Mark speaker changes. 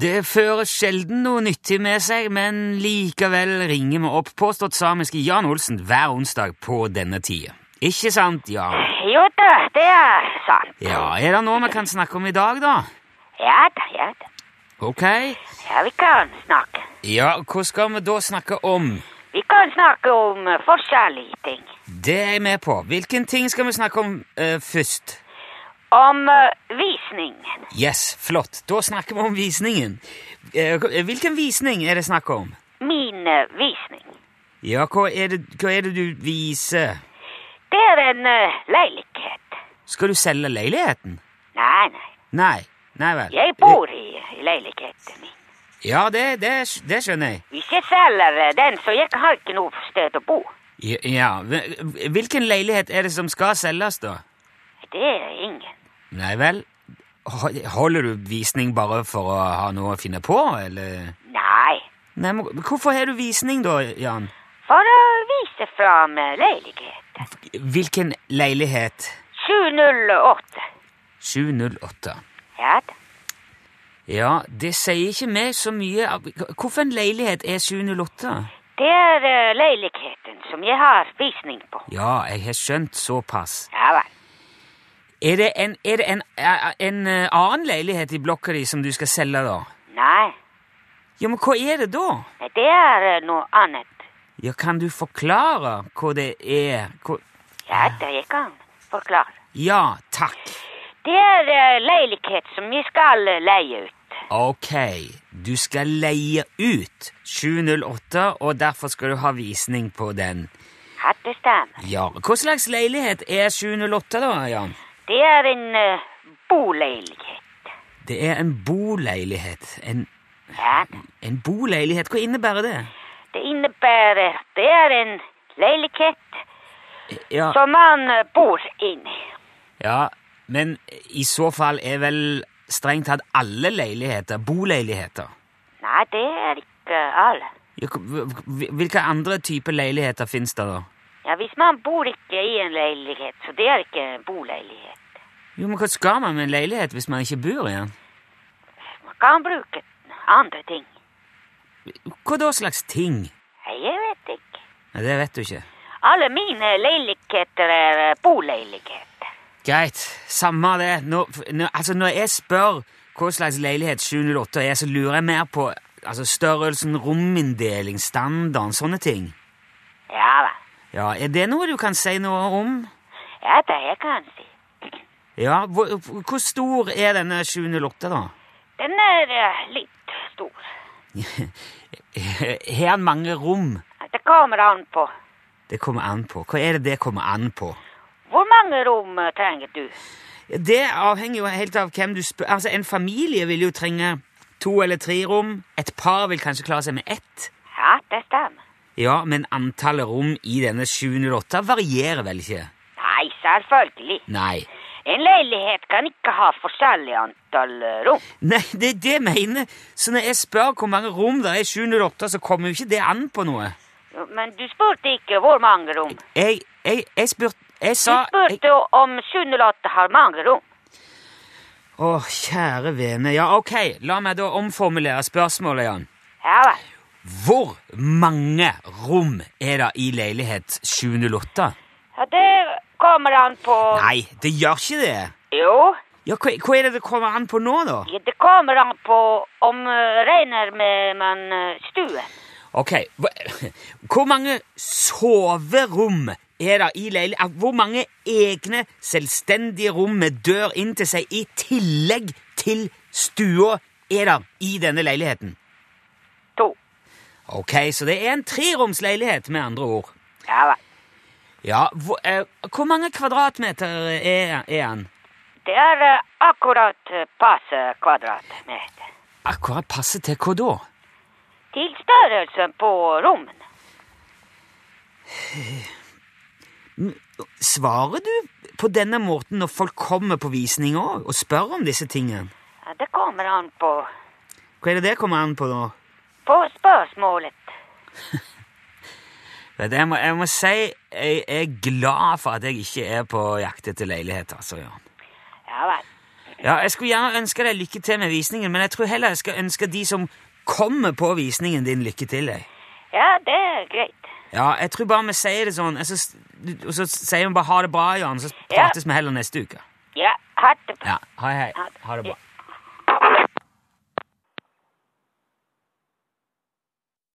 Speaker 1: Det fører sjelden noe nyttig med seg, men likevel ringer vi opp påstått samiske Jan Olsen hver onsdag på denne tida. Ikke sant, Jan?
Speaker 2: Jo da, det er sant.
Speaker 1: Ja, er det noe vi kan snakke om i dag, da?
Speaker 2: Ja da, ja da.
Speaker 1: Ok.
Speaker 2: Ja, vi kan snakke.
Speaker 1: Ja, hva skal vi da snakke om?
Speaker 2: Vi kan snakke om eh, forskjellige ting.
Speaker 1: Det er jeg med på. Hvilken ting skal vi snakke om eh, først?
Speaker 2: Om eh, visningen.
Speaker 1: Yes, flott. Da snakker vi om visningen. Eh, hvilken visning er det snakk om?
Speaker 2: Min eh, visning.
Speaker 1: Ja, hva er, det, hva er det du viser?
Speaker 2: Det er en eh, leilighet.
Speaker 1: Skal du selge leiligheten?
Speaker 2: Nei, nei.
Speaker 1: Nei. Nei vel.
Speaker 2: Jeg bor i, i leiligheten min.
Speaker 1: Ja, det, det, det skjønner jeg.
Speaker 2: Hvis jeg selger eh, den, så jeg har ikke noe sted å bo.
Speaker 1: Ja, Ja. Hvilken leilighet er det som skal selges, da?
Speaker 2: Det er ingen.
Speaker 1: Nei vel. Ho- Holder du visning bare for å ha noe å finne på, eller?
Speaker 2: Nei.
Speaker 1: Nei, men Hvorfor har du visning, da, Jan?
Speaker 2: For å vise fram eh, leiligheten.
Speaker 1: Hvilken leilighet?
Speaker 2: 708.
Speaker 1: 708.
Speaker 2: Ja da.
Speaker 1: Ja, det sier ikke meg så mye. Hvorfor en leilighet er 708?
Speaker 2: Det er eh, leiligheten som jeg har visning på.
Speaker 1: Ja, jeg har skjønt såpass.
Speaker 2: Ja vel.
Speaker 1: Er det en, er det en, eh, en eh, annen leilighet i blokka di som du skal selge, da?
Speaker 2: Nei,
Speaker 1: Ja, men hva er det da?
Speaker 2: nei, det er eh, noe annet.
Speaker 1: Ja, kan du forklare hva det er? Hva...
Speaker 2: Ja, det jeg kan forklare.
Speaker 1: Ja, takk.
Speaker 2: Det er eh, leilighet som jeg skal eh, leie ut.
Speaker 1: Ok, du skal leie ut 708, og derfor skal du ha visning på den.
Speaker 2: Ja, det stemmer.
Speaker 1: Ja, hva slags leilighet er 708 da, Jan?
Speaker 2: Det er en eh, boleilighet.
Speaker 1: Det er en boleilighet. En,
Speaker 2: Ja, da.
Speaker 1: en boleilighet, hva innebærer det?
Speaker 2: det innebærer det er en leilighet
Speaker 1: Ja,
Speaker 2: som man eh, bor inni.
Speaker 1: ja, men i så fall er vel strengt tatt alle leiligheter boleiligheter.
Speaker 2: Nei, det er ikke alle.
Speaker 1: Ja, hva- hva- Hvilke andre typer leiligheter finnes det da?
Speaker 2: Ja, hvis man bor ikke i en leilighet, så det er ikke en boleilighet.
Speaker 1: Jo, men hva skal man med en leilighet hvis man ikke bor i den?
Speaker 2: Man kan bruke andre ting.
Speaker 1: Hva da slags ting?
Speaker 2: Nei, Jeg vet ikke.
Speaker 1: Nei, det vet du ikke.
Speaker 2: Alle mine leiligheter er eh, boleiligheter.
Speaker 1: Greit, samme det. Nå, nå, altså, når jeg spør hva slags leilighet 708 er, så lurer jeg mer på altså, størrelsen, rominndeling, standarden, sånne ting.
Speaker 2: Ja vel.
Speaker 1: Ja, Er det noe du kan si noe om?
Speaker 2: Ja da, jeg kan si.
Speaker 1: Ja, Hvor, hvor stor er denne 708, da?
Speaker 2: Den er eh, litt stor.
Speaker 1: Har den mange rom?
Speaker 2: Det kommer an på
Speaker 1: Det kommer an på. Hva er det det kommer an på?
Speaker 2: hvor mange rom eh, trenger du?
Speaker 1: Det avhenger jo helt av hvem du spør. Altså, En familie vil jo trenge to eller tre rom. Et par vil kanskje klare seg med ett.
Speaker 2: Ja, det stemmer.
Speaker 1: Ja, men antallet rom i denne 708 varierer vel ikke?
Speaker 2: Nei, selvfølgelig.
Speaker 1: Nei.
Speaker 2: En leilighet kan ikke ha forskjellig antall eh, rom.
Speaker 1: Nei, det er det jeg mener. Så når jeg spør hvor mange rom det er i 708, så kommer jo ikke det an på noe.
Speaker 2: Jo, Men du spurte ikke hvor mange rom.
Speaker 1: Jeg, jeg, jeg spurte Jeg
Speaker 2: Du
Speaker 1: sa jeg-
Speaker 2: spurte om 708 har mange rom.
Speaker 1: Å, kjære vene. Ja, ok, la meg da omformulere spørsmålet, Jan.
Speaker 2: Ja vel.
Speaker 1: Hvor mange rom er det i leilighet 708?
Speaker 2: Ja, det kommer an på
Speaker 1: Nei, det gjør ikke det.
Speaker 2: Jo.
Speaker 1: Ja, hva, hva er det det kommer an på nå, da?
Speaker 2: Ja, Det kommer an på om eh, regner med man eh, stuen.
Speaker 1: Ok, hva- hvor mange soverom er det i leilighet? Hvor mange egne selvstendige rom med dør inn til seg i tillegg til stua er det i denne leiligheten?
Speaker 2: To.
Speaker 1: Ok, så det er en treromsleilighet med andre ord.
Speaker 2: Ja vel.
Speaker 1: Ja, hvor, eh, hvor mange kvadratmeter er, er han?
Speaker 2: Det er eh, akkurat eh, passe kvadratmeter.
Speaker 1: Akkurat passe til hva da?
Speaker 2: Til størrelsen på rommene.
Speaker 1: Svarer du på denne måten når folk kommer på visning også, og spør om disse tingene?
Speaker 2: Ja, Det kommer an på,
Speaker 1: Hva er det det kommer an på da?
Speaker 2: på spørsmålet.
Speaker 1: Vet du, Jeg må, jeg må si jeg er glad for at jeg ikke er på jakt etter leilighet, altså, Jan.
Speaker 2: Ja vel.
Speaker 1: Ja, jeg skulle gjerne ønske deg lykke til med visningen, men jeg tror heller jeg skal ønske de som kommer på visningen din, lykke til. Jeg.
Speaker 2: Ja, det er greit.
Speaker 1: Ja, jeg tror bare vi sier det sånn, og så, og så sier vi bare ha det bra, Jan, så
Speaker 2: Ja.
Speaker 1: prates vi heller neste uke.
Speaker 2: Ja, ha det bra.
Speaker 1: Ja, hei, hei.
Speaker 2: Ha det.
Speaker 1: Ha det bra.